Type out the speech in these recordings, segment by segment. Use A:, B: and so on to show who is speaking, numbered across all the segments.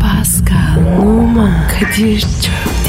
A: Pascal, Oman, Kadir çok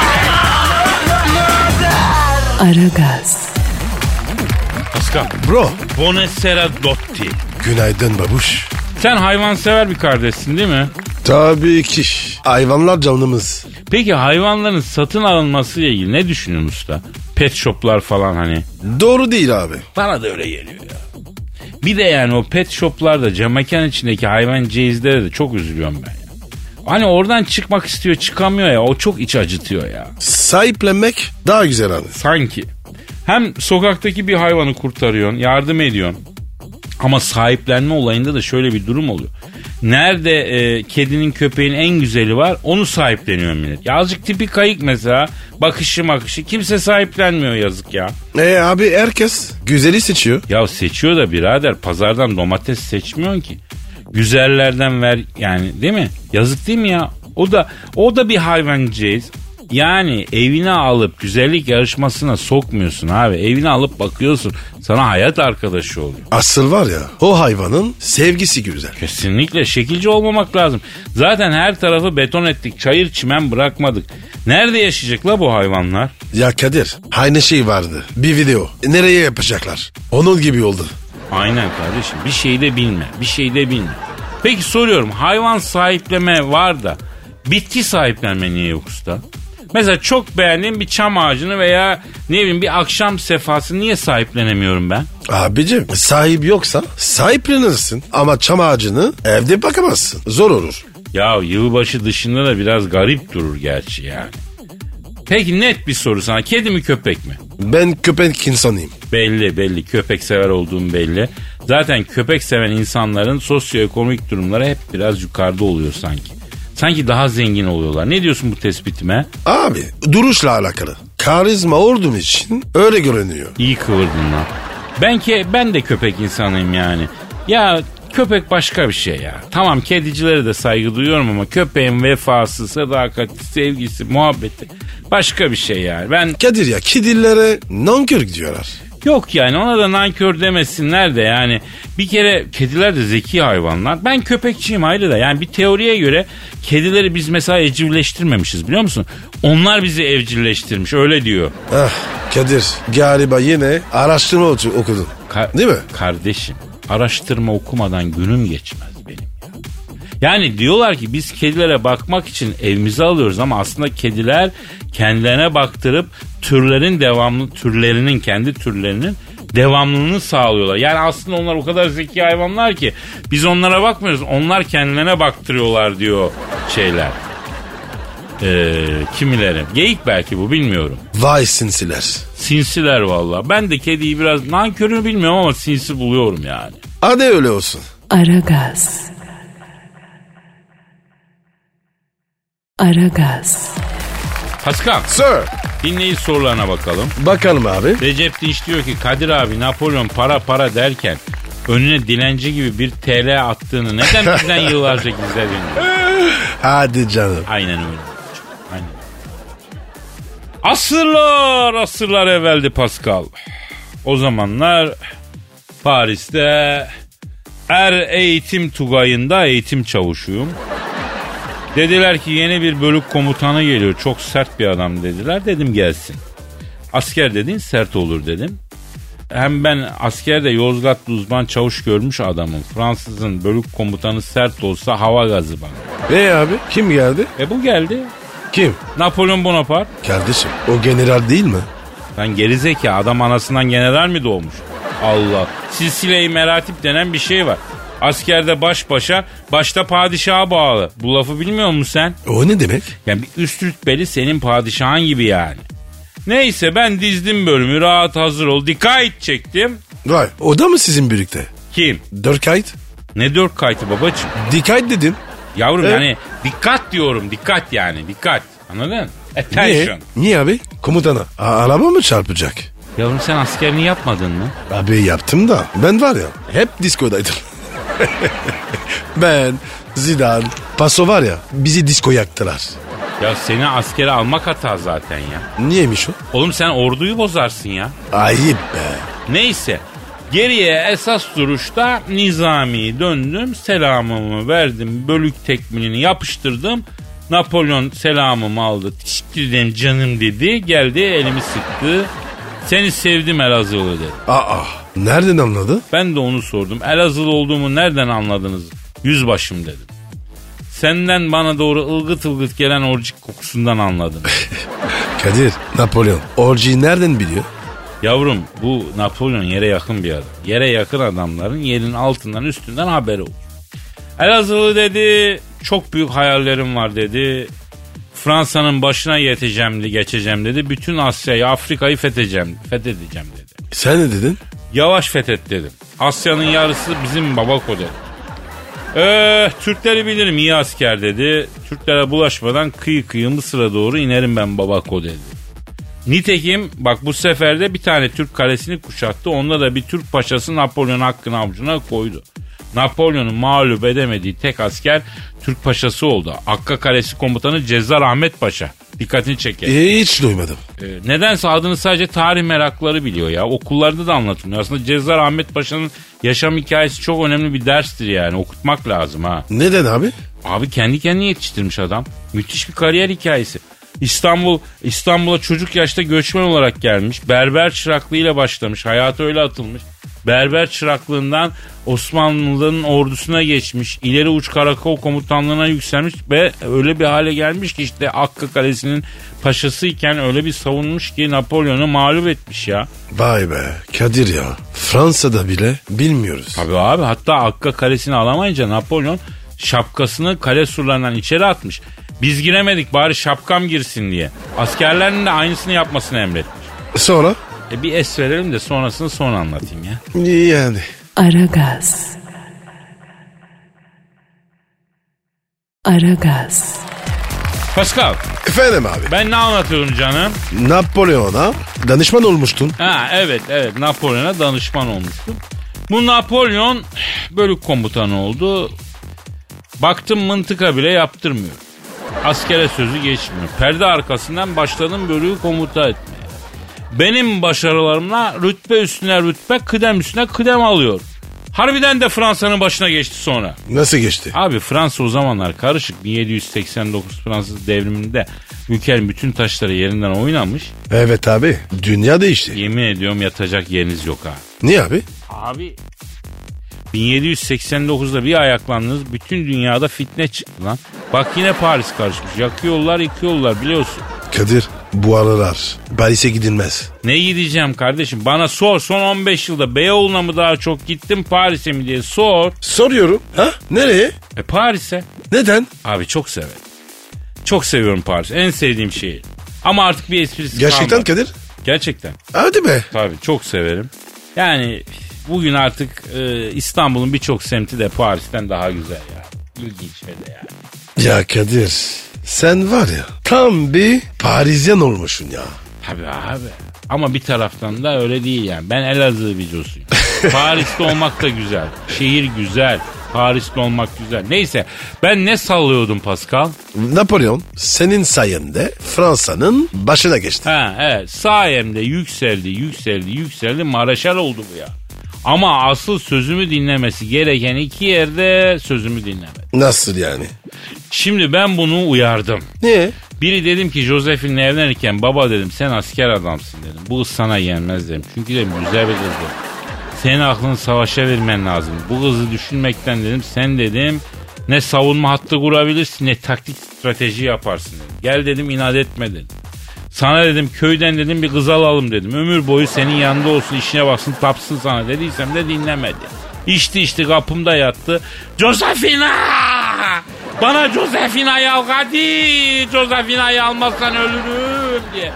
A: Aragaz,
B: Paskal.
C: Bro.
B: Bonessera Dotti.
C: Günaydın babuş.
B: Sen hayvansever bir kardeşsin değil mi?
C: Tabii ki. Hayvanlar canımız.
B: Peki hayvanların satın alınması ile ilgili ne düşünüyorsun usta? Pet shoplar falan hani.
C: Doğru değil abi.
B: Bana da öyle geliyor ya. Bir de yani o pet shoplarda cam mekan içindeki hayvan ceyizlere de çok üzülüyorum ben ya. Hani oradan çıkmak istiyor çıkamıyor ya o çok iç acıtıyor ya.
C: Sahiplenmek daha güzel abi.
B: Sanki. Hem sokaktaki bir hayvanı kurtarıyorsun, yardım ediyorsun. Ama sahiplenme olayında da şöyle bir durum oluyor. Nerede e, kedinin köpeğin en güzeli var onu sahipleniyor millet. Ya azıcık tipi kayık mesela bakışı makışı kimse sahiplenmiyor yazık ya.
C: E abi herkes güzeli seçiyor.
B: Ya seçiyor da birader pazardan domates seçmiyorsun ki. Güzellerden ver yani değil mi? Yazık değil mi ya? O da o da bir hayvancıyız. Yani evine alıp güzellik yarışmasına sokmuyorsun abi. Evine alıp bakıyorsun. Sana hayat arkadaşı oluyor.
C: Asıl var ya o hayvanın sevgisi güzel.
B: Kesinlikle şekilci olmamak lazım. Zaten her tarafı beton ettik. Çayır çimen bırakmadık. Nerede yaşayacak la bu hayvanlar?
C: Ya Kadir aynı şey vardı. Bir video. Nereye yapacaklar? Onun gibi oldu.
B: Aynen kardeşim bir şey de bilme bir şey de bilme. Peki soruyorum hayvan sahipleme var da bitki sahiplenme niye yok usta? Mesela çok beğendiğim bir çam ağacını veya ne bileyim bir akşam sefası niye sahiplenemiyorum ben?
C: Abicim sahip yoksa sahiplenirsin ama çam ağacını evde bakamazsın. Zor olur.
B: Ya yılbaşı dışında da biraz garip durur gerçi yani. Peki net bir soru sana kedi mi köpek mi?
C: Ben köpek insanıyım.
B: Belli belli köpek sever olduğum belli. Zaten köpek seven insanların sosyoekonomik durumları hep biraz yukarıda oluyor sanki. Sanki daha zengin oluyorlar. Ne diyorsun bu tespitime?
C: Abi duruşla alakalı. Karizma ordum için öyle görünüyor.
B: İyi kıvırdın lan. Ben ki ben de köpek insanıyım yani. Ya köpek başka bir şey ya. Tamam kedicilere de saygı duyuyorum ama köpeğin vefası, sadakati, sevgisi, muhabbeti başka bir şey yani. Ben
C: Kadir ya kedilere nankör diyorlar.
B: Yok yani ona da nankör demesinler de yani. Bir kere kediler de zeki hayvanlar. Ben köpekçiyim ayrı da. Yani bir teoriye göre kedileri biz mesela evcilleştirmemişiz biliyor musun? Onlar bizi evcilleştirmiş öyle diyor.
C: Ah Kadir galiba yine araştırma otu- okudun.
B: Ka-
C: Değil mi?
B: Kardeşim araştırma okumadan günüm geçmez benim ya. Yani diyorlar ki biz kedilere bakmak için evimize alıyoruz ama aslında kediler kendilerine baktırıp türlerin devamlı türlerinin kendi türlerinin devamlılığını sağlıyorlar. Yani aslında onlar o kadar zeki hayvanlar ki biz onlara bakmıyoruz. Onlar kendilerine baktırıyorlar diyor şeyler. Ee, kimileri. Geyik belki bu bilmiyorum.
C: Vay sinsiler.
B: Sinsiler valla. Ben de kediyi biraz nankörünü bilmiyorum ama sinsi buluyorum yani.
C: Hadi öyle olsun.
A: Aragaz. Aragaz,
B: Paskal
C: Sir.
B: dinleyici sorularına bakalım.
C: Bakalım abi.
B: Recep Dinç diyor ki Kadir abi Napolyon para para derken önüne dilenci gibi bir TL attığını neden bizden yıllarca gizledin?
C: Hadi canım.
B: Aynen öyle. Aynen. Asırlar asırlar evveldi Pascal. O zamanlar Paris'te er eğitim tugayında eğitim çavuşuyum. Dediler ki yeni bir bölük komutanı geliyor. Çok sert bir adam dediler. Dedim gelsin. Asker dediğin sert olur dedim. Hem ben askerde Yozgatlı uzman çavuş görmüş adamım. Fransızın bölük komutanı sert olsa hava gazı bana.
C: E abi kim geldi?
B: E bu geldi.
C: Kim?
B: Napolyon Bonaparte.
C: Kardeşim o general değil mi?
B: Lan gerizekalı adam anasından general mi doğmuş? Allah. Silsile-i meratip denen bir şey var. Askerde baş başa, başta padişaha bağlı. Bu lafı bilmiyor musun sen?
C: O ne demek?
B: Yani bir üst rütbeli senin padişahın gibi yani. Neyse ben dizdim bölümü rahat hazır ol. Dikkat çektim.
C: Vay o da mı sizin birlikte?
B: Kim?
C: Dörkayt?
B: Ne dört kaytı babacığım?
C: Dikkat dedim.
B: Yavrum
C: Evet.
B: yani Dikkat diyorum dikkat yani dikkat. Anladın? Attention.
C: Niye? Niye abi? Komutana. A- araba mı çarpacak?
B: Yavrum sen askerini yapmadın mı?
C: Abi yaptım da ben var ya hep diskodaydım. ben, Zidane, Paso var ya bizi disko yaktılar.
B: Ya seni askere almak hata zaten ya.
C: Niyemiş o?
B: Oğlum sen orduyu bozarsın ya.
C: Ayıp be.
B: Neyse. Geriye esas duruşta nizami döndüm. Selamımı verdim. Bölük tekmilini yapıştırdım. Napolyon selamımı aldı. Teşekkür ederim canım dedi. Geldi elimi sıktı. Seni sevdim Elazığlı dedi.
C: Aa, nereden anladı?
B: Ben de onu sordum. Elazığlı olduğumu nereden anladınız? Yüzbaşım dedim. Senden bana doğru ılgıt ılgıt gelen orcik kokusundan anladım.
C: Kadir, Napolyon. Orjiyi nereden biliyor?
B: Yavrum bu Napolyon yere yakın bir adam. Yere yakın adamların yerin altından üstünden haberi olur. Elazığlı dedi çok büyük hayallerim var dedi. Fransa'nın başına yeteceğim, geçeceğim dedi. Bütün Asya'yı, Afrika'yı fethedeceğim, fethedeceğim dedi.
C: Sen ne dedin?
B: Yavaş fethet dedim. Asya'nın yarısı bizim babako dedim. Eh, Türkleri bilirim iyi asker dedi. Türklere bulaşmadan kıyı kıyı Mısır'a doğru inerim ben babako dedi. Nitekim bak bu sefer de bir tane Türk kalesini kuşattı. Onda da bir Türk paşası Napolyon hakkını avucuna koydu. Napolyon'u mağlup edemediği tek asker Türk paşası oldu. Akka kalesi komutanı Cezar Ahmet Paşa. Dikkatini çeker.
C: E, hiç duymadım.
B: Ee, Nedense adını sadece tarih merakları biliyor ya. Okullarda da anlatılıyor. Aslında Cezar Ahmet Paşa'nın yaşam hikayesi çok önemli bir derstir yani. Okutmak lazım ha.
C: Neden abi?
B: Abi kendi kendini yetiştirmiş adam. Müthiş bir kariyer hikayesi. İstanbul İstanbul'a çocuk yaşta göçmen olarak gelmiş. Berber çıraklığıyla başlamış. Hayatı öyle atılmış. Berber çıraklığından Osmanlı'nın ordusuna geçmiş. İleri uç karakol komutanlığına yükselmiş ve öyle bir hale gelmiş ki işte Akka Kalesi'nin paşası iken öyle bir savunmuş ki Napolyon'u mağlup etmiş ya.
C: Vay be Kadir ya. Fransa'da bile bilmiyoruz.
B: Tabii abi hatta Akka kalesini alamayınca Napolyon şapkasını kale surlarından içeri atmış. Biz giremedik bari şapkam girsin diye. Askerlerin de aynısını yapmasını emretmiş.
C: Sonra?
B: E bir es verelim de sonrasını sonra anlatayım ya.
C: Yani.
A: Aragaz. Aragaz.
B: Pascal
C: Efendim abi.
B: ben ne anlatıyordum canım?
C: Napolyon'a danışman olmuştun.
B: Ha evet evet Napolyon'a danışman olmuştum. Bu Napolyon bölük komutanı oldu. Baktım mıntıka bile yaptırmıyor. Askere sözü geçmiyor. Perde arkasından başladım bölüğü komuta etmeye. Benim başarılarımla rütbe üstüne rütbe kıdem üstüne kıdem alıyor. Harbiden de Fransa'nın başına geçti sonra.
C: Nasıl geçti?
B: Abi Fransa o zamanlar karışık. 1789 Fransız devriminde ülkenin bütün taşları yerinden oynanmış.
C: Evet abi. Dünya değişti.
B: Yemin ediyorum yatacak yeriniz yok ha.
C: Niye abi?
B: Abi 1789'da bir ayaklandınız bütün dünyada fitne çıktı lan. Bak yine Paris karışmış. Yakıyorlar yıkıyorlar biliyorsun.
C: Kadir bu aralar Paris'e gidilmez.
B: Ne gideceğim kardeşim bana sor son 15 yılda Beyoğlu'na mı daha çok gittim Paris'e mi diye sor.
C: Soruyorum. Ha? Nereye?
B: E Paris'e.
C: Neden?
B: Abi çok severim. Çok seviyorum Paris. En sevdiğim şehir. Ama artık bir esprisi
C: Gerçekten
B: kalmadı.
C: Kadir.
B: Gerçekten.
C: Hadi be.
B: Tabii çok severim. Yani bugün artık e, İstanbul'un birçok semti de Paris'ten daha güzel ya. İlginç ve de yani.
C: Ya Kadir sen var ya tam bir Parisyen olmuşsun ya.
B: Tabii abi. Ama bir taraftan da öyle değil yani. Ben Elazığ videosuyum. Paris'te olmak da güzel. Şehir güzel. Paris'te olmak güzel. Neyse ben ne sallıyordum Pascal?
C: Napolyon senin sayende Fransa'nın başına geçti.
B: Ha evet sayemde yükseldi yükseldi yükseldi Maraşal oldu bu ya. Ama asıl sözümü dinlemesi gereken iki yerde sözümü dinlemedi.
C: Nasıl yani?
B: Şimdi ben bunu uyardım.
C: Niye?
B: Biri dedim ki Josephine'le evlenirken baba dedim sen asker adamsın dedim. Bu kız sana yenmez dedim. Çünkü dedim güzel bir kız dedim. Senin aklını savaşa vermen lazım. Bu kızı düşünmekten dedim sen dedim ne savunma hattı kurabilirsin ne taktik strateji yaparsın dedim. Gel dedim inat etme dedim. Sana dedim köyden dedim bir kız alalım dedim. Ömür boyu senin yanında olsun işine baksın tapsın sana dediysem de dinlemedi. İçti içti kapımda yattı. Josefina! Bana Josefina'yı al hadi! Josefina'yı almazsan ölürüm diye.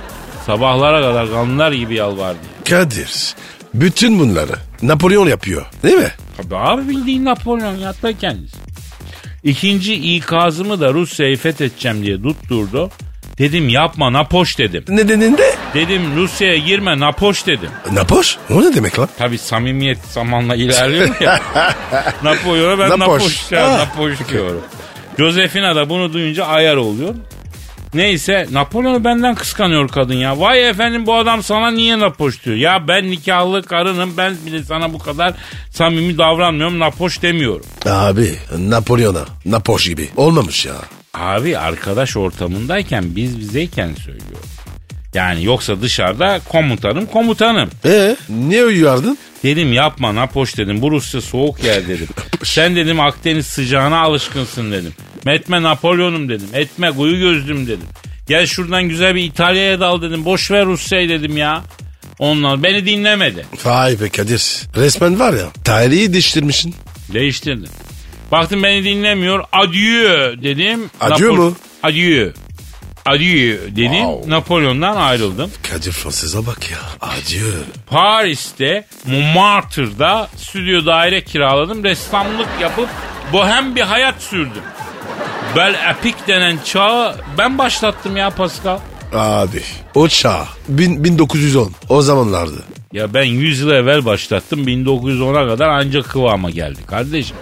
B: Sabahlara kadar kanlar gibi yalvardı.
C: Kadir bütün bunları Napolyon yapıyor değil mi?
B: Tabii abi bildiğin Napolyon ya da kendisi. İkinci ikazımı da Rusya'yı fethedeceğim diye tutturdu. Dedim yapma napoş dedim.
C: Nedeninde?
B: Dedim Rusya'ya girme napoş dedim.
C: Napoş? O ne demek lan?
B: Tabi samimiyet zamanla ilerliyor ya. Napolyon'a ben
C: Napoş.
B: Napoş, ya,
C: Ha.
B: Napoş diyorum. Josefina da bunu duyunca ayar oluyor. Neyse Napolyon'u benden kıskanıyor kadın ya. Vay efendim bu adam sana niye napoş diyor. Ya ben nikahlı karınım ben bile sana bu kadar samimi davranmıyorum napoş demiyorum.
C: Abi Napolyon'a Napoş gibi olmamış ya.
B: Abi arkadaş ortamındayken biz bizeyken söylüyor. Yani yoksa dışarıda komutanım komutanım.
C: E niye uyuyardın?
B: Dedim yapma Napoş dedim. Bu Rusya soğuk yer dedim. Sen dedim Akdeniz sıcağına alışkınsın dedim. Etme Napolyon'um dedim. Etme kuyu gözlüm dedim. Gel şuradan güzel bir İtalya'ya dal dedim. Boş ver Rusya'yı dedim ya. Onlar beni dinlemedi.
C: Vay be Kadir. Resmen var ya tarihi değiştirmişsin.
B: Değiştirdim. Baktım beni dinlemiyor. Adieu dedim.
C: Adieu
B: Napol-
C: mu?
B: Adieu. Adieu dedim. Napolyon'dan ayrıldım.
C: Kadir Fransız'a bak ya. Acı.
B: Paris'te Montmartre'da stüdyo daire kiraladım. Ressamlık yapıp bohem bir hayat sürdüm. Bel Epic denen çağı ben başlattım ya Pascal.
C: Abi o çağ bin- 1910 o zamanlardı.
B: Ya ben 100 yıl evvel başlattım. 1910'a kadar ancak kıvama geldi kardeşim.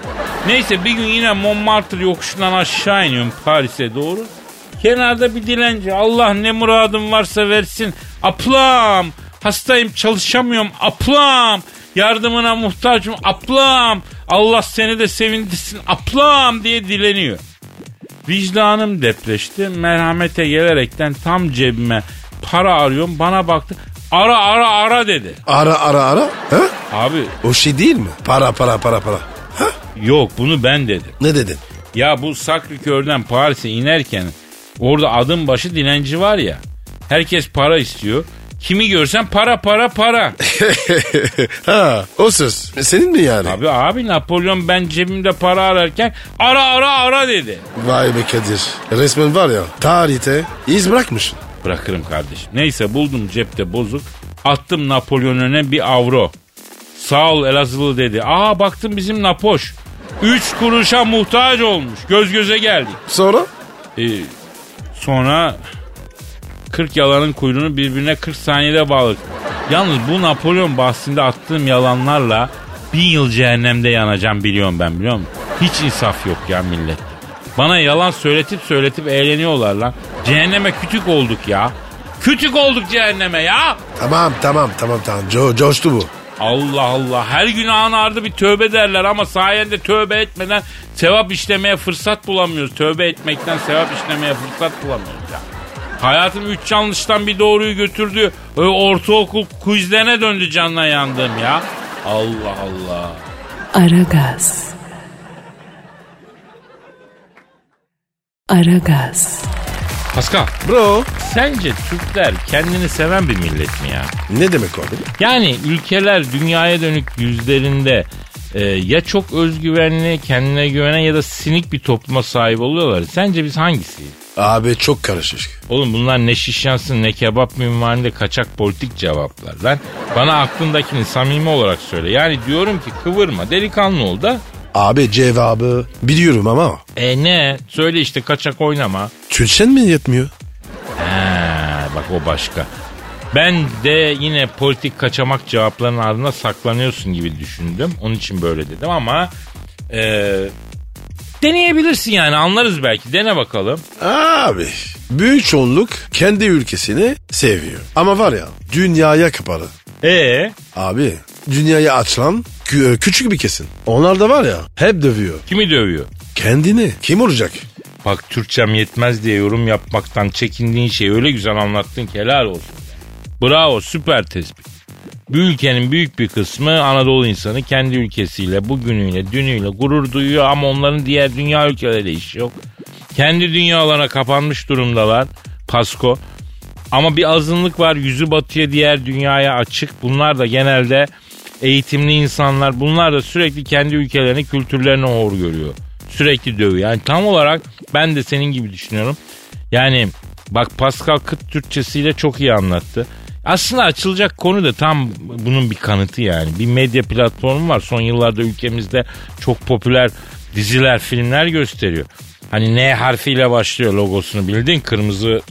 B: Neyse bir gün yine Montmartre yokuşundan aşağı iniyorum Paris'e doğru. Kenarda bir dilenci. Allah ne muradım varsa versin. Aplam. Hastayım çalışamıyorum. Aplam. Yardımına muhtacım. Aplam. Allah seni de sevindirsin. Aplam diye dileniyor. Vicdanım depreşti. Merhamete gelerekten tam cebime para arıyorum. Bana baktı. Ara ara ara dedi.
C: Ara ara ara. Ha?
B: Abi
C: O şey değil mi? Para para para para. Ha?
B: yok bunu ben dedim.
C: Ne dedin?
B: Ya bu Sacré-Cœur'den Paris'e inerken orada adım başı dilenci var ya. Herkes para istiyor. Kimi görsen para para para.
C: ha, o söz. Senin mi yani?
B: abi abi Napolyon ben cebimde para ararken ara ara ara dedi.
C: Vay be Kadir. Resmen var ya tarihte iz bırakmışsın.
B: Bırakırım kardeşim. Neyse buldum cepte bozuk. Attım Napolyon önüne bir avro. Sağ ol Elazığlı dedi. Aa baktım bizim Napoş. Üç kuruşa muhtaç olmuş. Göz göze geldik.
C: Sonra?
B: Ee, sonra 40 yalanın kuyruğunu birbirine 40 saniyede bağladık. Yalnız bu Napolyon bahsinde attığım yalanlarla bin yıl cehennemde yanacağım biliyorum ben biliyor musun? Hiç insaf yok ya millet. Bana yalan söyletip söyletip eğleniyorlar lan. Cehenneme kütük olduk ya. Kütük olduk cehenneme ya.
C: Tamam tamam tamam tamam. Co coştu bu.
B: Allah Allah her günahın ardı bir tövbe derler ama sayende tövbe etmeden sevap işlemeye fırsat bulamıyoruz. Tövbe etmekten sevap işlemeye fırsat bulamıyoruz ya. Hayatım üç yanlıştan bir doğruyu götürdü. Ö, Ortaokul quizlerine döndü canına yandım ya. Allah Allah.
A: Aragaz. Aragaz.
B: Pascal
C: Bro.
B: sence Türkler kendini seven bir millet mi ya?
C: Ne demek o abi?
B: Yani ülkeler dünyaya dönük yüzlerinde e, ya çok özgüvenli, kendine güvenen ya da sinik bir topluma sahip oluyorlar. Sence biz hangisiyiz?
C: Abi çok karışık.
B: Oğlum bunlar ne şiş yansın ne kebap minvalinde kaçak politik cevaplar. Lan bana aklındakini samimi olarak söyle. Yani diyorum ki kıvırma delikanlı ol da.
C: Abi cevabı biliyorum ama
B: E ne? Söyle işte kaçak oynama.
C: Türkçen mi yetmiyor?
B: Ha, Ee, bak o başka. Ben de yine politik kaçamak cevapların ardına saklanıyorsun gibi düşündüm. Onun için böyle dedim ama e, deneyebilirsin yani anlarız belki. Dene bakalım.
C: Abi büyük çoğunluk kendi ülkesini seviyor. Ama var ya dünyaya kapalı.
B: E
C: Abi dünyaya açılan kü- küçük bir kesin. Onlar da var ya hep dövüyor.
B: kimi dövüyor?
C: Kendini kim vuracak?
B: Bak Türkçem yetmez diye yorum yapmaktan çekindiğin şeyi öyle güzel anlattın ki helal olsun. Bravo süper tespit. Bu ülkenin büyük bir kısmı Anadolu insanı kendi ülkesiyle, bugünüyle, dünüyle gurur duyuyor ama onların diğer dünya ülkeleriyle işi yok. Kendi dünyalarına kapanmış durumdalar. Pasko. Ama bir azınlık var yüzü batıya diğer dünyaya açık. Bunlar da genelde eğitimli insanlar. Bunlar da sürekli kendi ülkelerini kültürlerini hor görüyor. Sürekli dövüyor. Yani tam olarak ben de senin gibi düşünüyorum. Yani bak Pascal Kıt Türkçesiyle çok iyi anlattı. Aslında açılacak konu da tam bunun bir kanıtı yani. Bir medya platformu var. Son yıllarda ülkemizde çok popüler diziler, filmler gösteriyor. Hani N harfiyle başlıyor logosunu bildin. Kırmızı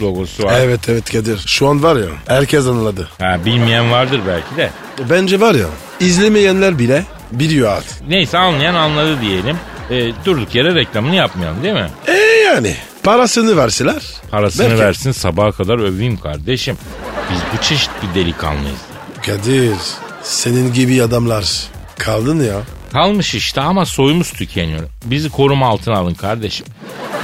B: logosu var.
C: Evet evet Kadir. Şu an var ya herkes anladı.
B: Ha, bilmeyen vardır belki de.
C: Bence var ya izlemeyenler bile biliyor artık.
B: Neyse anlayan anladı diyelim. E, durduk yere reklamını yapmayalım değil mi?
C: E yani parasını verseler.
B: Parasını
C: Belki-
B: versin sabaha kadar öveyim kardeşim. Biz bu çeşit bir delikanlıyız.
C: Kadir senin gibi adamlar kaldın ya.
B: Kalmış işte ama soyumuz tükeniyor. Bizi koruma altına alın kardeşim.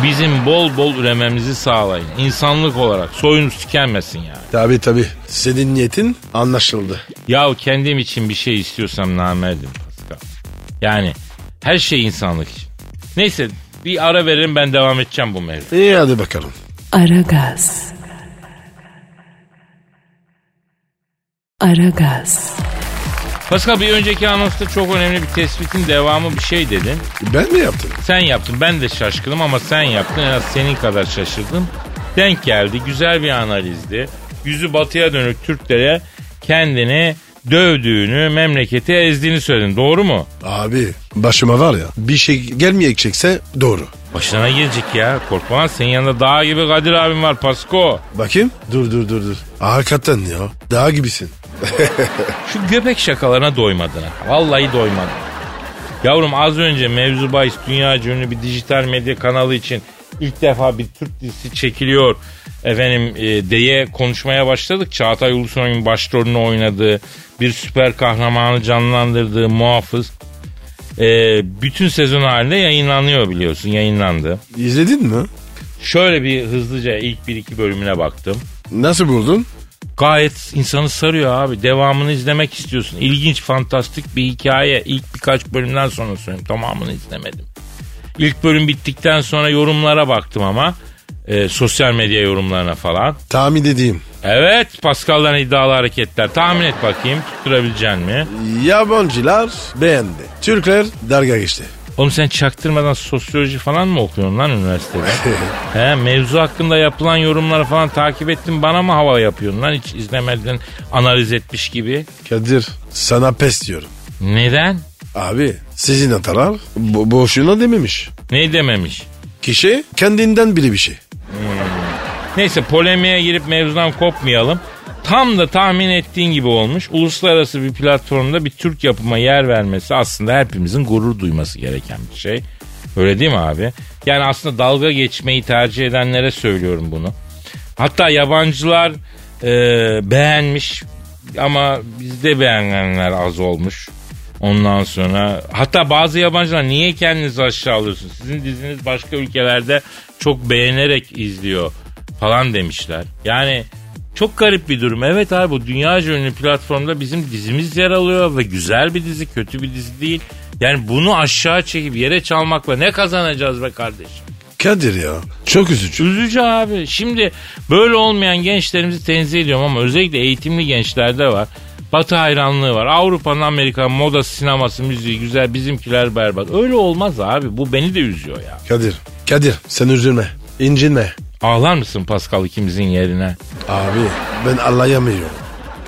B: Bizim bol bol ürememizi sağlayın. İnsanlık olarak soyumuz tükenmesin yani.
C: Tabi tabi senin niyetin anlaşıldı.
B: Ya kendim için bir şey istiyorsam namerdim Pascal. Yani her şey insanlık için. Neyse bir ara verin ben devam edeceğim bu mevzu.
C: İyi hadi bakalım.
A: Aragaz. Aragaz.
B: Pascal bir önceki anonsta çok önemli bir tespitin devamı bir şey dedin.
C: Ben mi yaptım?
B: Sen yaptın ben de şaşkınım ama sen yaptın en az senin kadar şaşırdım. Denk geldi güzel bir analizdi. Yüzü batıya dönük Türklere kendini dövdüğünü, memleketi ezdiğini söyledin. Doğru mu?
C: Abi başıma var ya bir şey gelmeyecekse doğru.
B: Başına gelecek ya. Korkma lan, senin yanında dağ gibi Kadir abim var Pasko.
C: Bakayım. Dur dur dur dur. Hakikaten ya. Daha gibisin.
B: Şu göbek şakalarına doymadın ha. Vallahi doymadın. Yavrum az önce mevzu bahis dünya ünlü bir dijital medya kanalı için ilk defa bir Türk dizisi çekiliyor. Efendim e, diye konuşmaya başladık. Çağatay Ulusoy'un başrolünü oynadığı, bir süper kahramanı canlandırdığı muhafız. e, bütün sezon halinde yayınlanıyor biliyorsun. Yayınlandı.
C: İzledin mi?
B: Şöyle bir hızlıca ilk bir iki bölümüne baktım.
C: Nasıl buldun?
B: Gayet insanı sarıyor abi. Devamını izlemek istiyorsun. İlginç, fantastik bir hikaye. İlk birkaç bölümden sonra söyleyeyim. Tamamını izlemedim. İlk bölüm bittikten sonra yorumlara baktım ama. e, sosyal medya yorumlarına falan.
C: Tahmin edeyim.
B: Evet Pascal'dan iddialı hareketler. Tahmin et bakayım tutturabilecek mi?
C: Yabancılar beğendi. Türkler dalga geçti.
B: Oğlum sen çaktırmadan sosyoloji falan mı okuyorsun lan üniversitede? He, mevzu hakkında yapılan yorumları falan takip ettin bana mı hava yapıyorsun lan hiç izlemedin analiz etmiş gibi?
C: Kadir sana pes diyorum.
B: Neden?
C: Abi sizin hatalar bo- boşuna dememiş.
B: Ne dememiş?
C: Kişi kendinden biri bir şey.
B: Neyse polemiğe girip mevzudan kopmayalım. Tam da tahmin ettiğin gibi olmuş. Uluslararası bir platformda bir Türk yapıma yer vermesi aslında hepimizin gurur duyması gereken bir şey. Öyle değil mi abi? Yani aslında dalga geçmeyi tercih edenlere söylüyorum bunu. Hatta yabancılar e, beğenmiş ama bizde beğenenler az olmuş. Ondan sonra hatta bazı yabancılar niye kendinizi aşağılıyorsunuz? Sizin diziniz başka ülkelerde çok beğenerek izliyor falan demişler. Yani çok garip bir durum. Evet abi bu dünya ünlü platformda bizim dizimiz yer alıyor ve güzel bir dizi, kötü bir dizi değil. Yani bunu aşağı çekip yere çalmakla ne kazanacağız be kardeşim?
C: Kadir ya çok üzücü.
B: Üzücü abi. Şimdi böyle olmayan gençlerimizi tenzih ediyorum ama özellikle eğitimli gençlerde var. Batı hayranlığı var. Avrupa'nın Amerika modası, sineması, müziği güzel. Bizimkiler berbat. Öyle olmaz abi. Bu beni de üzüyor ya.
C: Kadir, Kadir sen üzülme, incinme.
B: Ağlar mısın Pascal ikimizin yerine?
C: Abi ben anlayamıyorum.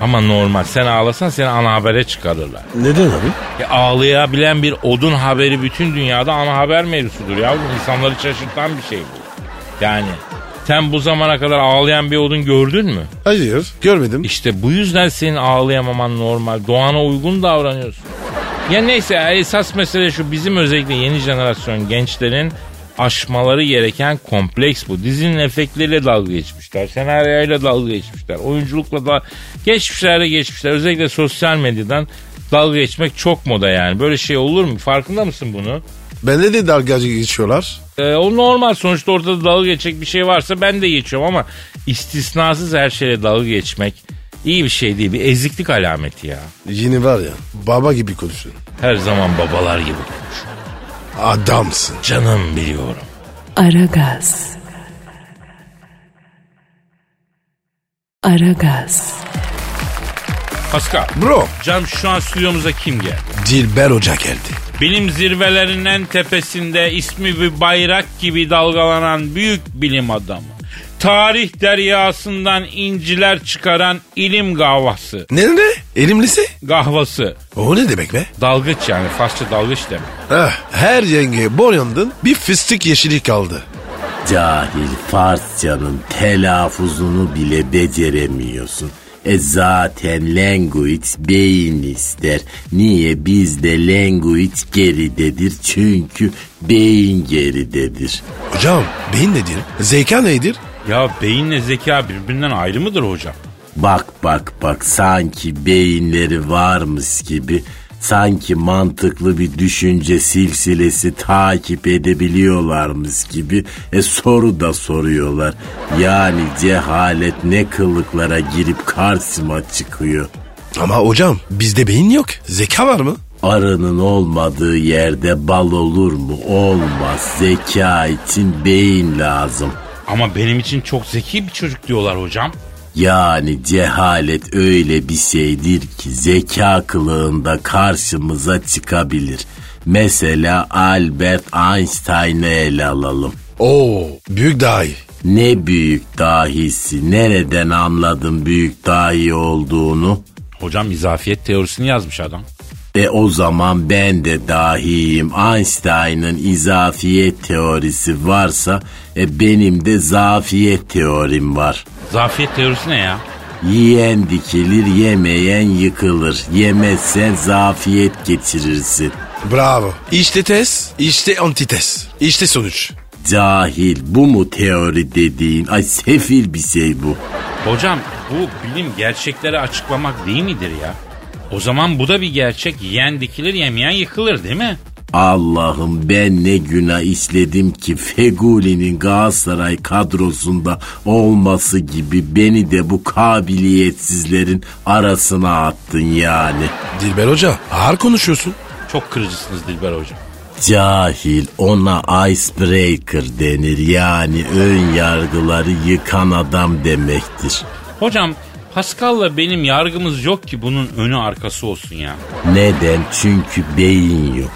B: Ama normal. Sen ağlasan seni ana habere çıkarırlar.
C: Neden abi?
B: E, ağlayabilen bir odun haberi bütün dünyada ana haber mevzusudur ya. İnsanları şaşırtan bir şey bu. Yani sen bu zamana kadar ağlayan bir odun gördün mü?
C: Hayır görmedim.
B: İşte bu yüzden senin ağlayamaman normal. Doğana uygun davranıyorsun. Ya neyse esas mesele şu bizim özellikle yeni jenerasyon gençlerin aşmaları gereken kompleks bu. Dizinin efektleriyle dalga geçmişler. Senaryoyla dalga geçmişler. Oyunculukla da geçmişlerle geçmişler. Özellikle sosyal medyadan dalga geçmek çok moda yani. Böyle şey olur mu? Farkında mısın bunu?
C: Bende de dalga geçiyorlar.
B: Ee, o normal sonuçta ortada dalga geçecek bir şey varsa ben de geçiyorum ama istisnasız her şeyle dalga geçmek iyi bir şey değil. Bir eziklik alameti ya.
C: Yine var ya baba gibi konuşun.
B: Her zaman babalar gibi konuş.
C: Adamsın.
B: Canım biliyorum.
A: Aragaz. Aragaz.
B: Pascal.
C: Bro
B: Can şu an stüdyomuza kim geldi?
C: Dilber Hoca geldi.
B: Bilim zirvelerinin en tepesinde ismi bir bayrak gibi dalgalanan büyük bilim adamı. Tarih deryasından inciler çıkaran ilim gavası.
C: Ne ne ne? Elimlisi?
B: Gahvası.
C: O ne demek be?
B: Dalgıç yani Farsça dalgıç demek.
C: Heh, her yengeye bol yandın bir fıstık yeşili kaldı.
D: Cahil Farsçanın telaffuzunu bile beceremiyorsun. E zaten language beyin ister. Niye bizde language geridedir? Çünkü beyin geridedir.
C: Hocam beyin nedir? Zeka nedir?
B: Ya beyinle zeka birbirinden ayrı mıdır hocam?
D: Bak bak bak sanki beyinleri varmış gibi sanki mantıklı bir düşünce silsilesi takip edebiliyorlarmış gibi e, soru da soruyorlar. Yani cehalet ne kılıklara girip karşıma çıkıyor.
C: Ama hocam bizde beyin yok. Zeka var mı?
D: Arının olmadığı yerde bal olur mu? Olmaz. Zeka için beyin lazım.
B: Ama benim için çok zeki bir çocuk diyorlar hocam.
D: Yani cehalet öyle bir şeydir ki zeka kılığında karşımıza çıkabilir. Mesela Albert Einstein'ı ele alalım.
C: Oo büyük dahi.
D: Ne büyük dahisi, nereden anladın büyük dahi olduğunu?
B: Hocam izafiyet teorisini yazmış adam.
D: E o zaman ben de dahiyim. Einstein'ın izafiyet teorisi varsa e benim de zafiyet teorim var.
B: Zafiyet teorisi ne ya?
D: Yiyen dikilir, yemeyen yıkılır. Yemezsen zafiyet geçirirsin.
C: Bravo. İşte test, işte antites. İşte sonuç.
D: Cahil bu mu teori dediğin? Ay sefil bir şey bu.
B: Hocam bu bilim gerçekleri açıklamak değil midir ya? O zaman bu da bir gerçek. Yiyen dikilir yemeyen yıkılır değil mi?
D: Allah'ım ben ne günah işledim ki Feguli'nin Galatasaray kadrosunda olması gibi beni de bu kabiliyetsizlerin arasına attın yani.
C: Dilber Hoca ağır konuşuyorsun.
B: Çok kırıcısınız Dilber hocam.
D: Cahil ona icebreaker denir yani ön yargıları yıkan adam demektir.
B: Hocam Pascal'la benim yargımız yok ki bunun önü arkası olsun ya.
D: Neden? Çünkü beyin yok.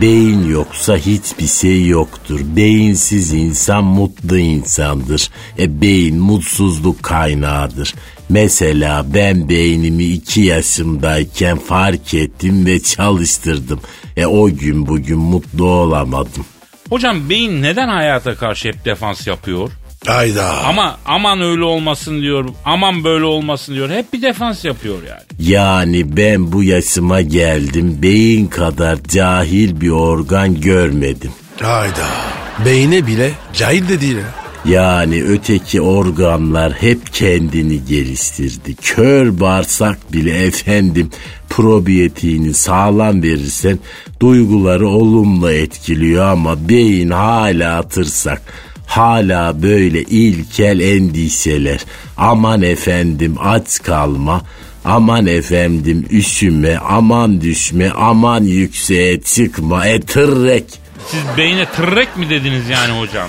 D: Beyin yoksa hiçbir şey yoktur. Beyinsiz insan mutlu insandır. E beyin mutsuzluk kaynağıdır. Mesela ben beynimi iki yaşımdayken fark ettim ve çalıştırdım. E o gün bugün mutlu olamadım.
B: Hocam beyin neden hayata karşı hep defans yapıyor?
C: Hayda.
B: Ama aman öyle olmasın diyor, aman böyle olmasın diyor. Hep bir defans yapıyor yani.
D: Yani ben bu yaşıma geldim beyin kadar cahil bir organ görmedim.
C: Hayda. Beyne bile cahil de değil ya.
D: Yani öteki organlar hep kendini geliştirdi. Kör bağırsak bile efendim probiyetini sağlam verirsen duyguları olumlu etkiliyor ama beyin hala atırsak. Hala böyle ilkel endişeler. Aman efendim aç kalma. Aman efendim üşüme, aman düşme, aman yükseğe çıkma, e tırrek.
B: Siz beyine tırrek mi dediniz yani hocam?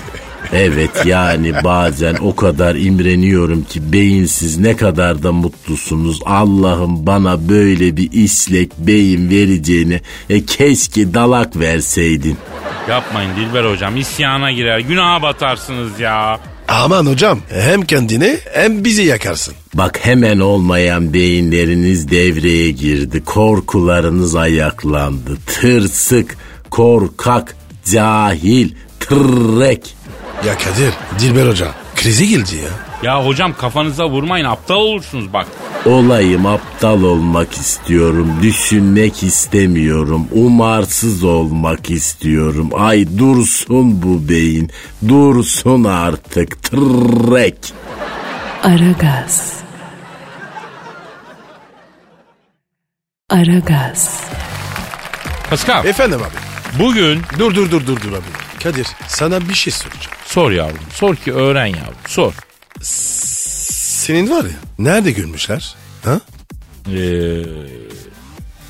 D: Evet yani bazen o kadar imreniyorum ki beyinsiz ne kadar da mutlusunuz. Allah'ım bana böyle bir islek beyin vereceğini e, keşke dalak verseydin.
B: Yapmayın Dilber hocam isyana girer günaha batarsınız ya.
C: Aman hocam hem kendini hem bizi yakarsın.
D: Bak hemen olmayan beyinleriniz devreye girdi. Korkularınız ayaklandı. Tırsık, korkak, cahil, tırrek.
C: Ya Kadir, Dilber Hoca krize girdi ya.
B: Ya hocam kafanıza vurmayın aptal olursunuz bak.
D: Olayım aptal olmak istiyorum, düşünmek istemiyorum, umarsız olmak istiyorum. Ay dursun bu beyin, dursun artık tırrek.
A: Aragaz. Aragaz.
B: Pascal
C: Efendim abi.
B: bugün
C: Dur dur dur dur dur abi. Kadir sana bir şey soracağım.
B: sor yavrum sor ki öğren yavrum sor.
C: Senin var ya nerede görmüşler? Ha?
B: Ee,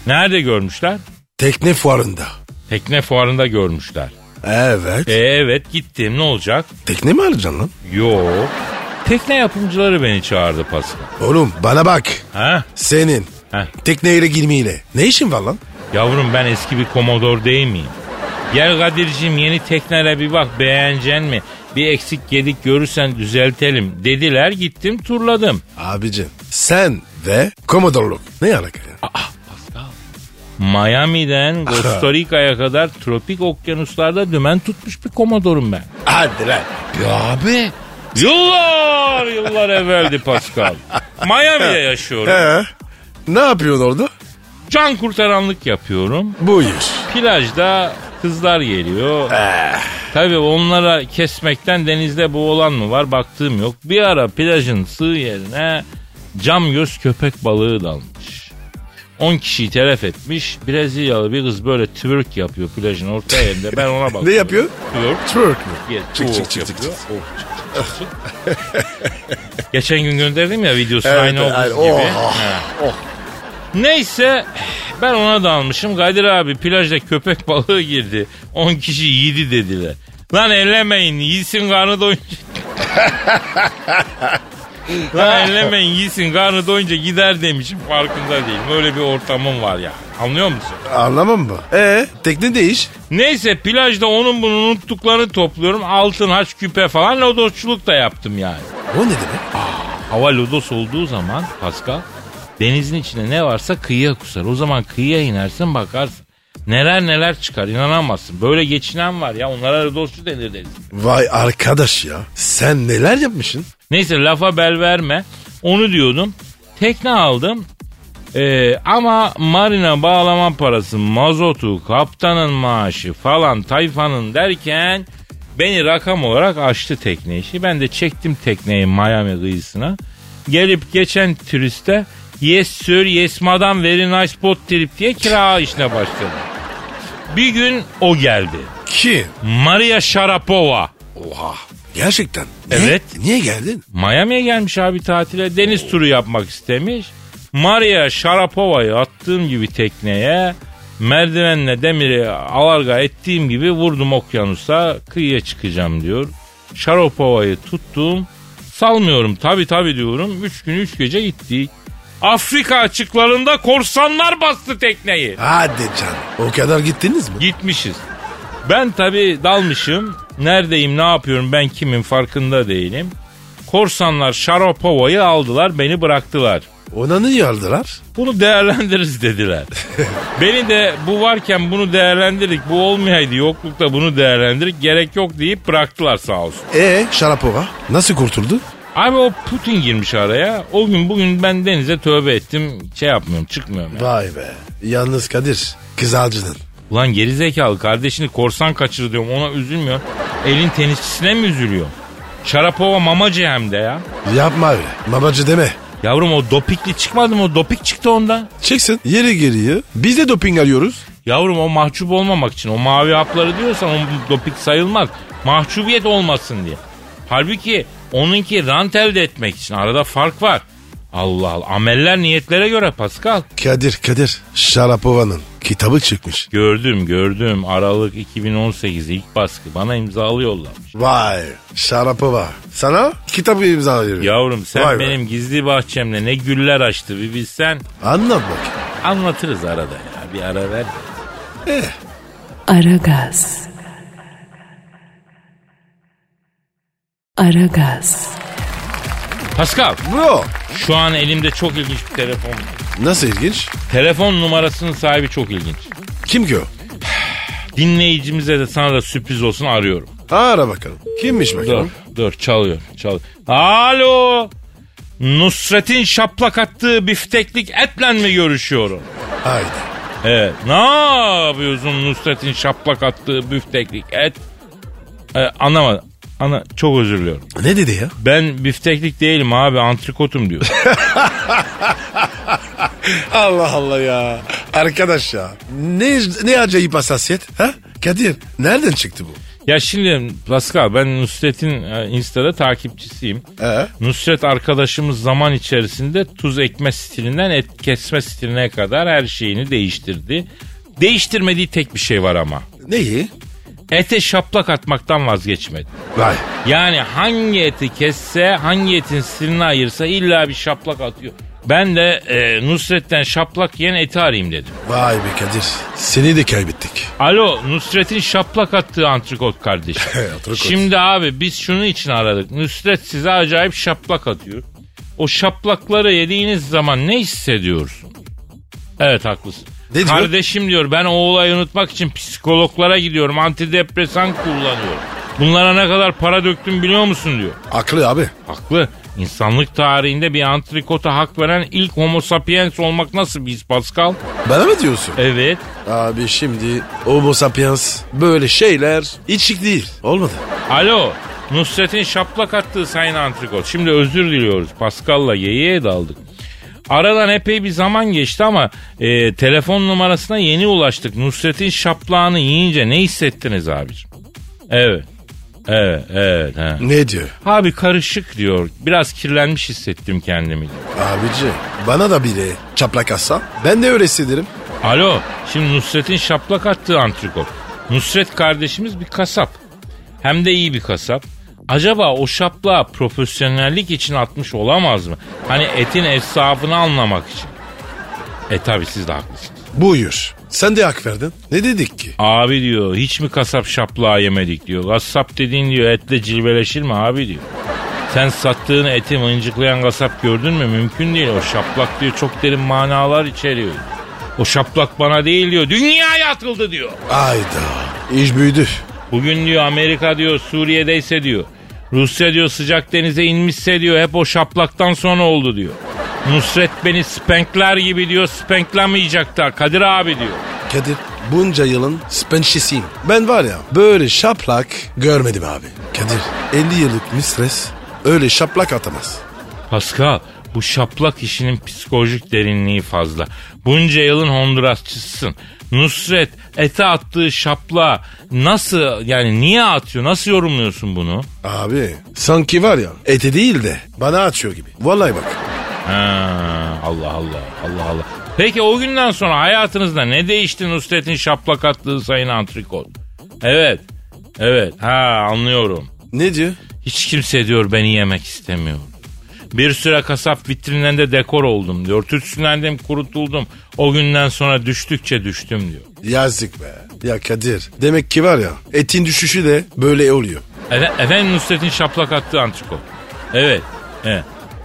B: nerede görmüşler?
C: Tekne fuarında.
B: Tekne fuarında görmüşler.
C: Evet.
B: E, evet gittim ne olacak?
C: Tekne mi alacaksın lan?
B: Yo. Tekne yapımcıları beni çağırdı Pascal.
C: Oğlum bana bak.
B: Ha?
C: Senin
B: Ha.
C: tekneyle girmeyle ne işin var lan?
B: Yavrum ben eski bir komodor değil miyim? Gel Kadir'cim yeni teknelere bir bak beğenecek mi? Bir eksik gedik görürsen düzeltelim dediler gittim turladım.
C: Abicim sen ve komodorluk ne alaka ya?
B: Miami'den Costa Rica'ya kadar tropik okyanuslarda dümen tutmuş bir komodorum ben.
C: Hadi lan. Ya abi.
B: Yıllar yıllar evveldi Pascal. Miami'de yaşıyorum.
C: He. E? Ne yapıyorsun orada?
B: Can kurtaranlık yapıyorum.
C: Buyur.
B: Plajda kızlar geliyor.
C: Eh.
B: Tabii onlara kesmekten denizde boğulan mı var baktığım yok. Bir ara plajın sığ yerine cam göz köpek balığı dalmış. 10 kişiyi telef etmiş. Brezilyalı bir kız böyle twerk yapıyor plajın orta yerinde. Ben ona bakıyorum.
C: Ne yapıyor?
B: Twerk.
C: Twerk mi?
B: Yeah,
C: Çık, çık,
B: twerk
C: çık,
B: yapıyor. Oh, çık, çık, çık, çık. Geçen gün gönderdim ya videosunu
C: Evet,
B: aynı
C: evet,
B: olduğu
C: oh,
B: gibi. Ha. Neyse ben ona dalmışım. Kadir abi plajda köpek balığı girdi. 10 kişi yedi dediler. Lan ellemeyin yiyin karnı doyunca. Lan ellemeyin yiyin karnı doyunca gider demişim farkında değilim. Böyle bir ortamım var ya. Anlıyor musun?
C: Anlamam mı? Ee, tekne değiş.
B: Neyse plajda onun bunu unuttuklarını topluyorum. Altın, haç, küpe falan lodosçuluk da yaptım yani.
C: O ne demek?
B: Hava lodos olduğu zaman Pascal denizin içinde ne varsa kıyıya kusar. O zaman kıyıya inersin bakarsın. Neler neler çıkar inanamazsın. Böyle geçinen var ya onlara lodosçu denir deniz.
C: Vay arkadaş ya. Sen neler yapmışsın?
B: Neyse lafa bel verme. Onu diyordum. Tekne aldım. Ee, ama marina bağlama parası, mazotu, kaptanın maaşı falan tayfanın derken beni rakam olarak açtı tekne işi. Ben de çektim tekneyi Miami kıyısına. Gelip geçen turiste yes sir yes madam very nice boat trip diye kira işine başladı. Bir gün o geldi.
C: Kim?
B: Maria Sharapova.
C: Oha. Gerçekten.
B: Evet.
C: Niye, niye geldin?
B: Miami'ye gelmiş abi tatile. Deniz turu yapmak istemiş. Maria Sharapova'yı attığım gibi tekneye merdivenle demiri alarga ettiğim gibi vurdum okyanusa kıyıya çıkacağım diyor. Sharapova'yı tuttum. Salmıyorum tabi tabi diyorum. Üç gün üç gece gittik. Afrika açıklarında korsanlar bastı tekneyi.
C: Hadi can. O kadar gittiniz mi?
B: Gitmişiz. Ben tabi dalmışım. Neredeyim, ne yapıyorum, ben kimin farkında değilim. Korsanlar Şarapova'yı aldılar, beni bıraktılar.
C: Ona niye aldılar?
B: Bunu değerlendiririz dediler. beni de bu varken bunu değerlendirdik, bu olmayaydı yoklukta bunu değerlendirdik, gerek yok deyip bıraktılar sağ olsun.
C: Ee Şarapova nasıl kurtuldu?
B: Abi o Putin girmiş araya. O gün bugün ben denize tövbe ettim. Şey yapmıyorum, çıkmıyorum. yani.
C: Vay be. Yalnız Kadir kızalcının.
B: Ulan gerizekalı kardeşini korsan kaçırdı diyorum ona üzülmüyor. Elin tenisçisine mi üzülüyor? Şarapova mamacı hem de ya.
C: Yapma abi. Babacı deme.
B: Yavrum o dopikli çıkmadı mı? O dopik çıktı onda.
C: Çıksın yeri geriye. Biz de doping alıyoruz.
B: Yavrum o mahcup olmamak için. O mavi hapları diyorsan o dopik sayılmaz. Mahcubiyet olmasın diye. Halbuki onunki rant elde etmek için. Arada fark var. Allah Allah. Ameller niyetlere göre Pascal.
C: Kadir Kadir Şarapova'nın kitabı çıkmış.
B: Gördüm gördüm. Aralık 2018 ilk baskı. Bana imzalı yollamış.
C: Vay Şarapova. Sana kitabı imzalıyor.
B: Yavrum sen
C: Vay be.
B: benim gizli bahçemde ne güller açtı bir bilsen.
C: Anlat bak.
B: Anlatırız arada ya. Bir ara ver.
A: Aragaz. Aragaz.
B: Pascal
C: Bro.
B: şu an elimde çok ilginç bir telefon var.
C: Nasıl ilginç?
B: Telefon numarasının sahibi çok ilginç.
C: Kim ki o?
B: Dinleyicimize de sana da sürpriz olsun arıyorum.
C: Ara bakalım. Kimmiş
B: Dur
C: bakalım?
B: dur çalıyor çalıyor. Alo. Nusret'in şaplak attığı bifteklik etle mi görüşüyorum?
C: Haydi.
B: Evet. Ne yapıyorsun Nusret'in şaplak attığı büfteklik et? Ee, anlamadım. Ana çok özür diliyorum.
C: Ne dedi ya?
B: Ben bifteklik değilim abi antrikotum diyor.
C: Allah Allah ya. Arkadaş ya. Ne, ne acayip hassasiyet. Ha? Kadir nereden çıktı bu?
B: ya şimdi Pascal ben Nusret'in e, Insta'da takipçisiyim.
C: Ee?
B: Nusret arkadaşımız zaman içerisinde tuz ekme stilinden et kesme stiline kadar her şeyini değiştirdi. Değiştirmediği tek bir şey var ama.
C: Neyi?
B: Ete şaplak atmaktan vazgeçmedi.
C: Vay.
B: Yani hangi eti kesse, hangi etin stilini ayırsa illa bir şaplak atıyor. Ben de e, Nusret'ten şaplak yiyen eti arayayım dedim.
C: Vay be Kadir. Seni de kaybettik.
B: Alo Nusret'in şaplak attığı antrikot kardeşim.
C: Antrikot.
B: Şimdi abi biz şunun için aradık. Nusret size acayip şaplak atıyor. O şaplakları yediğiniz zaman ne hissediyorsun? Evet haklısın.
C: Ne diyor?
B: Kardeşim diyor ben o olayı unutmak için psikologlara gidiyorum. Antidepresan kullanıyorum. Bunlara ne kadar para döktüm biliyor musun diyor.
C: Aklı abi.
B: Haklı. İnsanlık tarihinde bir antrikota hak veren ilk homo sapiens olmak nasıl biz Pascal?
C: Bana mı diyorsun?
B: Evet.
C: Abi şimdi homo sapiens böyle şeyler içik değil. Olmadı.
B: Alo. Nusret'in şaplak attığı sayın antrikot. Şimdi özür diliyoruz. Pascal'la yeğeye daldık. Aradan epey bir zaman geçti ama e, telefon numarasına yeni ulaştık. Nusret'in şaplağını yiyince ne hissettiniz abicim? Evet. Evet, evet. He.
C: Ne diyor?
B: Abi karışık diyor. Biraz kirlenmiş hissettim kendimi. diyor.
C: Abici bana da biri çaplak atsa ben de öyle hissederim.
B: Alo, şimdi Nusret'in şaplak attığı antrikot. Nusret kardeşimiz bir kasap. Hem de iyi bir kasap. Acaba o şapla profesyonellik için atmış olamaz mı? Hani etin esrafını anlamak için. E tabi siz de haklısınız.
C: Buyur. Sen de hak verdin. Ne dedik ki?
B: Abi diyor hiç mi kasap şapla yemedik diyor. Kasap dediğin diyor etle cilveleşir mi abi diyor. Sen sattığın eti mıncıklayan kasap gördün mü? Mümkün değil. O şaplak diyor çok derin manalar içeriyor. O şaplak bana değil diyor. Dünyaya atıldı diyor.
C: Ayda. İş büyüdü.
B: Bugün diyor Amerika diyor Suriye'deyse diyor. Rusya diyor sıcak denize inmişse diyor hep o şaplaktan sonra oldu diyor. Nusret beni spenkler gibi diyor spenklemeyecek da Kadir abi diyor.
C: Kadir bunca yılın spençisiyim. Ben var ya böyle şaplak görmedim abi. Kadir 50 yıllık mistres öyle şaplak atamaz.
B: Pascal bu şaplak işinin psikolojik derinliği fazla. Bunca yılın Hondurasçısısın. Nusret ete attığı şapla nasıl yani niye atıyor nasıl yorumluyorsun bunu?
C: Abi sanki var ya eti değil de bana açıyor gibi. Vallahi bak.
B: Ha, Allah Allah Allah Allah. Peki o günden sonra hayatınızda ne değişti Nusret'in şaplak attığı sayın antrikot? Evet. Evet. Ha anlıyorum.
C: Ne diyor?
B: Hiç kimse diyor beni yemek istemiyor. Bir süre kasap vitrinlerinde dekor oldum diyor. Tütsülendim, kurutuldum. O günden sonra düştükçe düştüm diyor.
C: Yazık be. Ya Kadir demek ki var ya etin düşüşü de böyle oluyor.
B: Efe- efendim Nusret'in şaplak attığı antrikot. Evet. evet.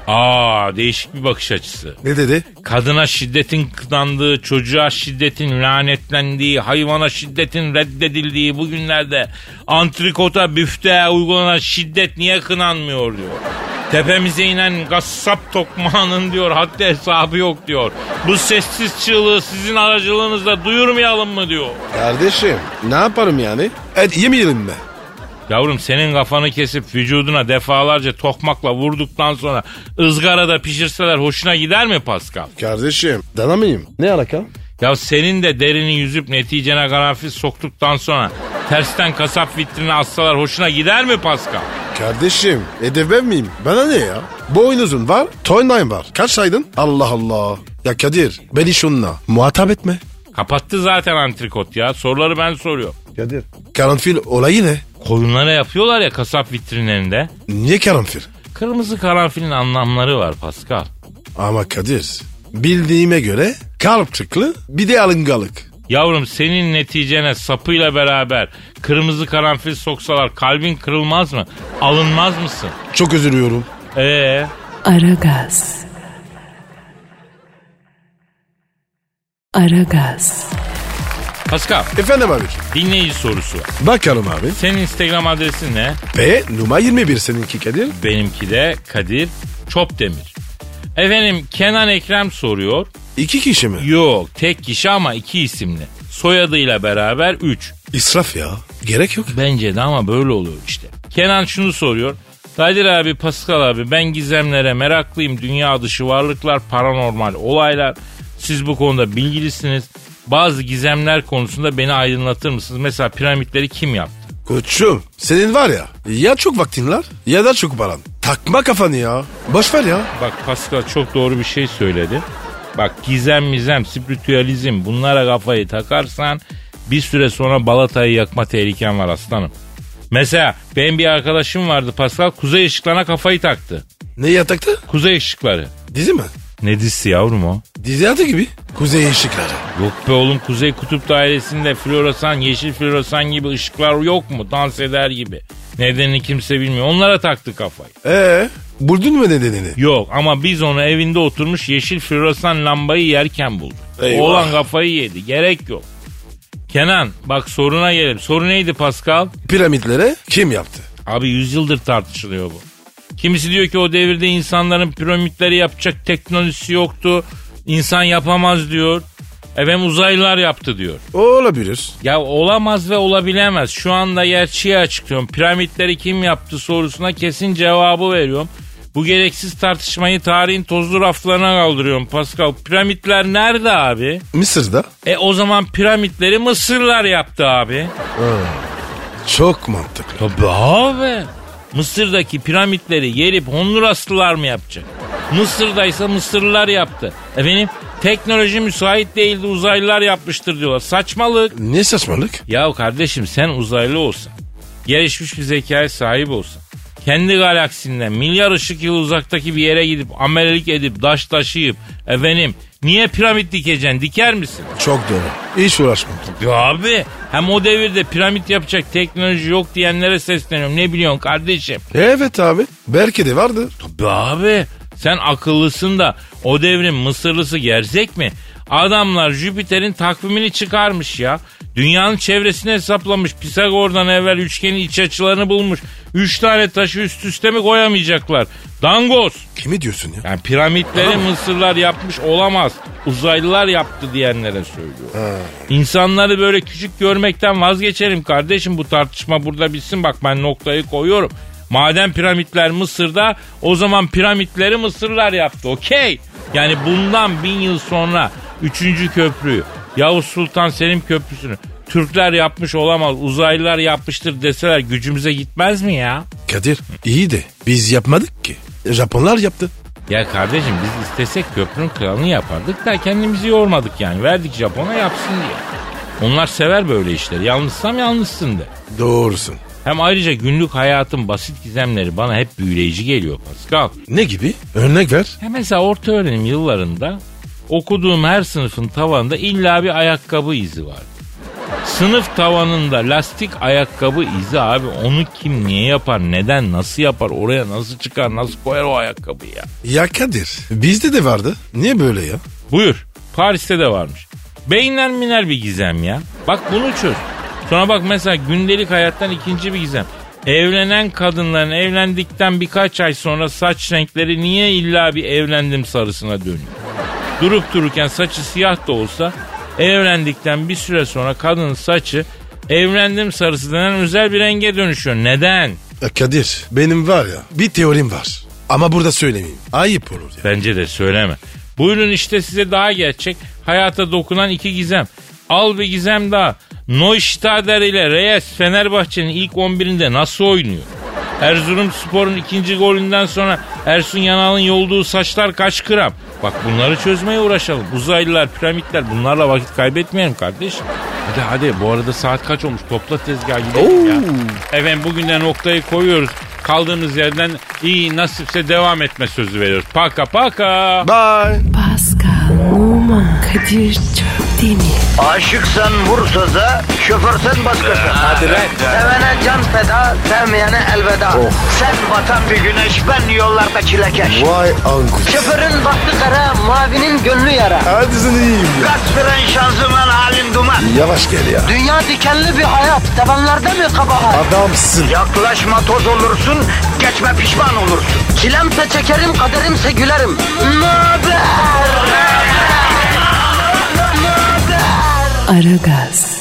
B: Aa değişik bir bakış açısı.
C: Ne dedi?
B: Kadına şiddetin kınandığı, çocuğa şiddetin lanetlendiği, hayvana şiddetin reddedildiği bu günlerde antrikota, büfte uygulanan şiddet niye kınanmıyor diyor. Tepemize inen gassap tokmağının diyor haddi hesabı yok diyor. Bu sessiz çığlığı sizin aracılığınızla duyurmayalım mı diyor.
C: Kardeşim ne yaparım yani? Et yemeyelim mi?
B: Yavrum senin kafanı kesip vücuduna defalarca tokmakla vurduktan sonra ızgarada pişirseler hoşuna gider mi Pascal?
C: Kardeşim dana mıyım? Ne alaka?
B: Ya senin de derini yüzüp neticene karanfil soktuktan sonra tersten kasap vitrini assalar hoşuna gider mi Pascal?
C: Kardeşim hedef ben miyim? Bana ne ya? Boynuzun var, toynayın var. Kaç saydın? Allah Allah. Ya Kadir beni şunla muhatap etme.
B: Kapattı zaten antrikot ya. Soruları ben soruyorum.
C: Kadir. Karanfil olayı ne?
B: Koyunlara yapıyorlar ya kasap vitrinlerinde.
C: Niye karanfil?
B: Kırmızı karanfilin anlamları var Pascal.
C: Ama Kadir bildiğime göre karpçıklı bir de alıngalık.
B: Yavrum senin neticene sapıyla beraber kırmızı karanfil soksalar kalbin kırılmaz mı? Alınmaz mısın?
C: Çok üzülüyorum.
B: Ee.
A: Aragaz. Aragaz.
B: Pascal
C: Efendim abi
B: dinleyici sorusu. var.
C: bakalım abi.
B: Senin Instagram adresin ne?
C: Ve numara 21 seninki Kadir.
B: Benimki de Kadir Çopdemir. Efendim Kenan Ekrem soruyor.
C: İki kişi mi?
B: Yok tek kişi ama iki isimli. Soyadıyla beraber üç.
C: İsraf ya. Gerek yok.
B: Bence de ama böyle oluyor işte. Kenan şunu soruyor. Kadir abi, Pascal abi ben gizemlere meraklıyım. Dünya dışı varlıklar, paranormal olaylar. Siz bu konuda bilgilisiniz. Bazı gizemler konusunda beni aydınlatır mısınız? Mesela piramitleri kim yaptı?
C: Koçum senin var ya ya çok vaktin var ya da çok paran. Takma kafanı ya. Boş ver ya.
B: Bak Pascal çok doğru bir şey söyledi. Bak gizem mizem, spiritüalizm bunlara kafayı takarsan bir süre sonra balatayı yakma tehliken var aslanım. Mesela benim bir arkadaşım vardı Pascal kuzey ışıklarına kafayı taktı.
C: Ne yatakta?
B: Kuzey ışıkları.
C: Dizi mi?
E: Ne dizisi yavrum o?
C: Dizi adı gibi. Kuzey ışıkları.
B: Yok be oğlum Kuzey Kutup Dairesi'nde floresan, yeşil floresan gibi ışıklar yok mu? Dans eder gibi. Nedenini kimse bilmiyor. Onlara taktı kafayı.
C: Ee, buldun mu nedenini?
B: Yok ama biz onu evinde oturmuş yeşil floresan lambayı yerken bulduk.
C: Eyvah.
B: Oğlan kafayı yedi. Gerek yok. Kenan bak soruna gelelim. Soru neydi Pascal?
C: Piramitlere kim yaptı?
B: Abi yüzyıldır tartışılıyor bu. Kimisi diyor ki o devirde insanların piramitleri yapacak teknolojisi yoktu. İnsan yapamaz diyor. Efendim uzaylılar yaptı diyor.
C: O olabilir.
B: Ya olamaz ve olabilemez. Şu anda gerçeği açıklıyorum. Piramitleri kim yaptı sorusuna kesin cevabı veriyorum. Bu gereksiz tartışmayı tarihin tozlu raflarına kaldırıyorum Pascal. Piramitler nerede abi?
C: Mısır'da
B: E o zaman piramitleri Mısırlar yaptı abi.
C: çok mantıklı.
B: Tabii abi. Mısır'daki piramitleri yerip Honduraslılar mı yapacak? Mısır'daysa Mısırlılar yaptı. Efendim teknoloji müsait değildi uzaylılar yapmıştır diyorlar. Saçmalık.
C: Ne saçmalık?
B: Ya kardeşim sen uzaylı olsan, gelişmiş bir zekaya sahip olsan, kendi galaksinden milyar ışık yılı uzaktaki bir yere gidip amelelik edip daş taşıyıp efendim niye piramit dikeceksin diker misin?
C: Çok doğru. Hiç uğraşmam.
B: Ya abi hem o devirde piramit yapacak teknoloji yok diyenlere sesleniyorum ne biliyorsun kardeşim?
C: Evet abi. Belki de vardır.
B: Be abi sen akıllısın da o devrin Mısırlısı gerzek mi? Adamlar Jüpiter'in takvimini çıkarmış ya. Dünyanın çevresini hesaplamış. Pisagor'dan evvel üçgenin iç açılarını bulmuş. Üç tane taşı üst üste mi koyamayacaklar? Dangoz.
C: Kimi diyorsun ya?
B: Yani piramitleri Mısırlar yapmış olamaz. Uzaylılar yaptı diyenlere söylüyor. İnsanları böyle küçük görmekten vazgeçelim kardeşim. Bu tartışma burada bitsin. Bak ben noktayı koyuyorum. Madem piramitler Mısır'da o zaman piramitleri Mısırlar yaptı. Okey. Yani bundan bin yıl sonra 3. köprüyü Yavuz Sultan Selim Köprüsü'nü Türkler yapmış olamaz uzaylılar yapmıştır deseler gücümüze gitmez mi ya?
C: Kadir iyi de biz yapmadık ki. Japonlar yaptı.
B: Ya kardeşim biz istesek köprünün kralını yapardık da kendimizi yormadık yani. Verdik Japon'a yapsın diye. Onlar sever böyle işleri. Yanlışsam yanlışsın de.
C: Doğrusun.
B: Hem ayrıca günlük hayatın basit gizemleri bana hep büyüleyici geliyor Pascal.
C: Ne gibi? Örnek ver.
B: Ya mesela orta öğrenim yıllarında okuduğum her sınıfın tavanında illa bir ayakkabı izi vardı. Sınıf tavanında lastik ayakkabı izi abi onu kim niye yapar neden nasıl yapar oraya nasıl çıkar nasıl koyar o ayakkabıyı ya.
C: Ya Kadir bizde de vardı. Niye böyle ya?
B: Buyur. Paris'te de varmış. Beyinler miner bir gizem ya. Bak bunu çöz. Sonra bak mesela gündelik hayattan ikinci bir gizem. Evlenen kadınların evlendikten birkaç ay sonra saç renkleri niye illa bir evlendim sarısına dönüyor? Durup dururken saçı siyah da olsa evlendikten bir süre sonra kadının saçı evlendim sarısı denen özel bir renge dönüşüyor. Neden?
C: Ya Kadir benim var ya bir teorim var. Ama burada söylemeyeyim. Ayıp olur ya.
B: Bence de söyleme. Buyurun işte size daha gerçek. Hayata dokunan iki gizem. Al bir gizem daha. Neustadter ile Reyes Fenerbahçe'nin ilk 11'inde nasıl oynuyor? Erzurum Spor'un ikinci golünden sonra Ersun Yanal'ın yolduğu saçlar kaç gram? Bak bunları çözmeye uğraşalım. Uzaylılar, piramitler bunlarla vakit kaybetmeyelim kardeşim. Hadi hadi bu arada saat kaç olmuş? Topla tezgahı gidelim ya. Efendim bugün de noktayı koyuyoruz. Kaldığımız yerden iyi nasipse devam etme sözü veriyoruz. Paka paka.
C: Bye.
A: Pascal, Oman, Kadir çok değil mi?
F: Aşıksan vursa da, şoförsen başkasın. Hadi Sevene can feda, sevmeyene elveda.
C: Oh.
F: Sen batan bir güneş, ben yollarda çilekeş.
C: Vay anku.
F: Şoförün baktı kara, mavinin gönlü yara.
C: Hadi sen iyiyim ya.
F: Kasperen şanzıman halin duman.
C: Yavaş gel ya.
F: Dünya dikenli bir hayat, sevenlerde mi kabahar?
C: Adamsın.
F: Yaklaşma toz olursun, geçme pişman olursun. Çilemse çekerim, kaderimse gülerim. Möber!
A: Aragaz.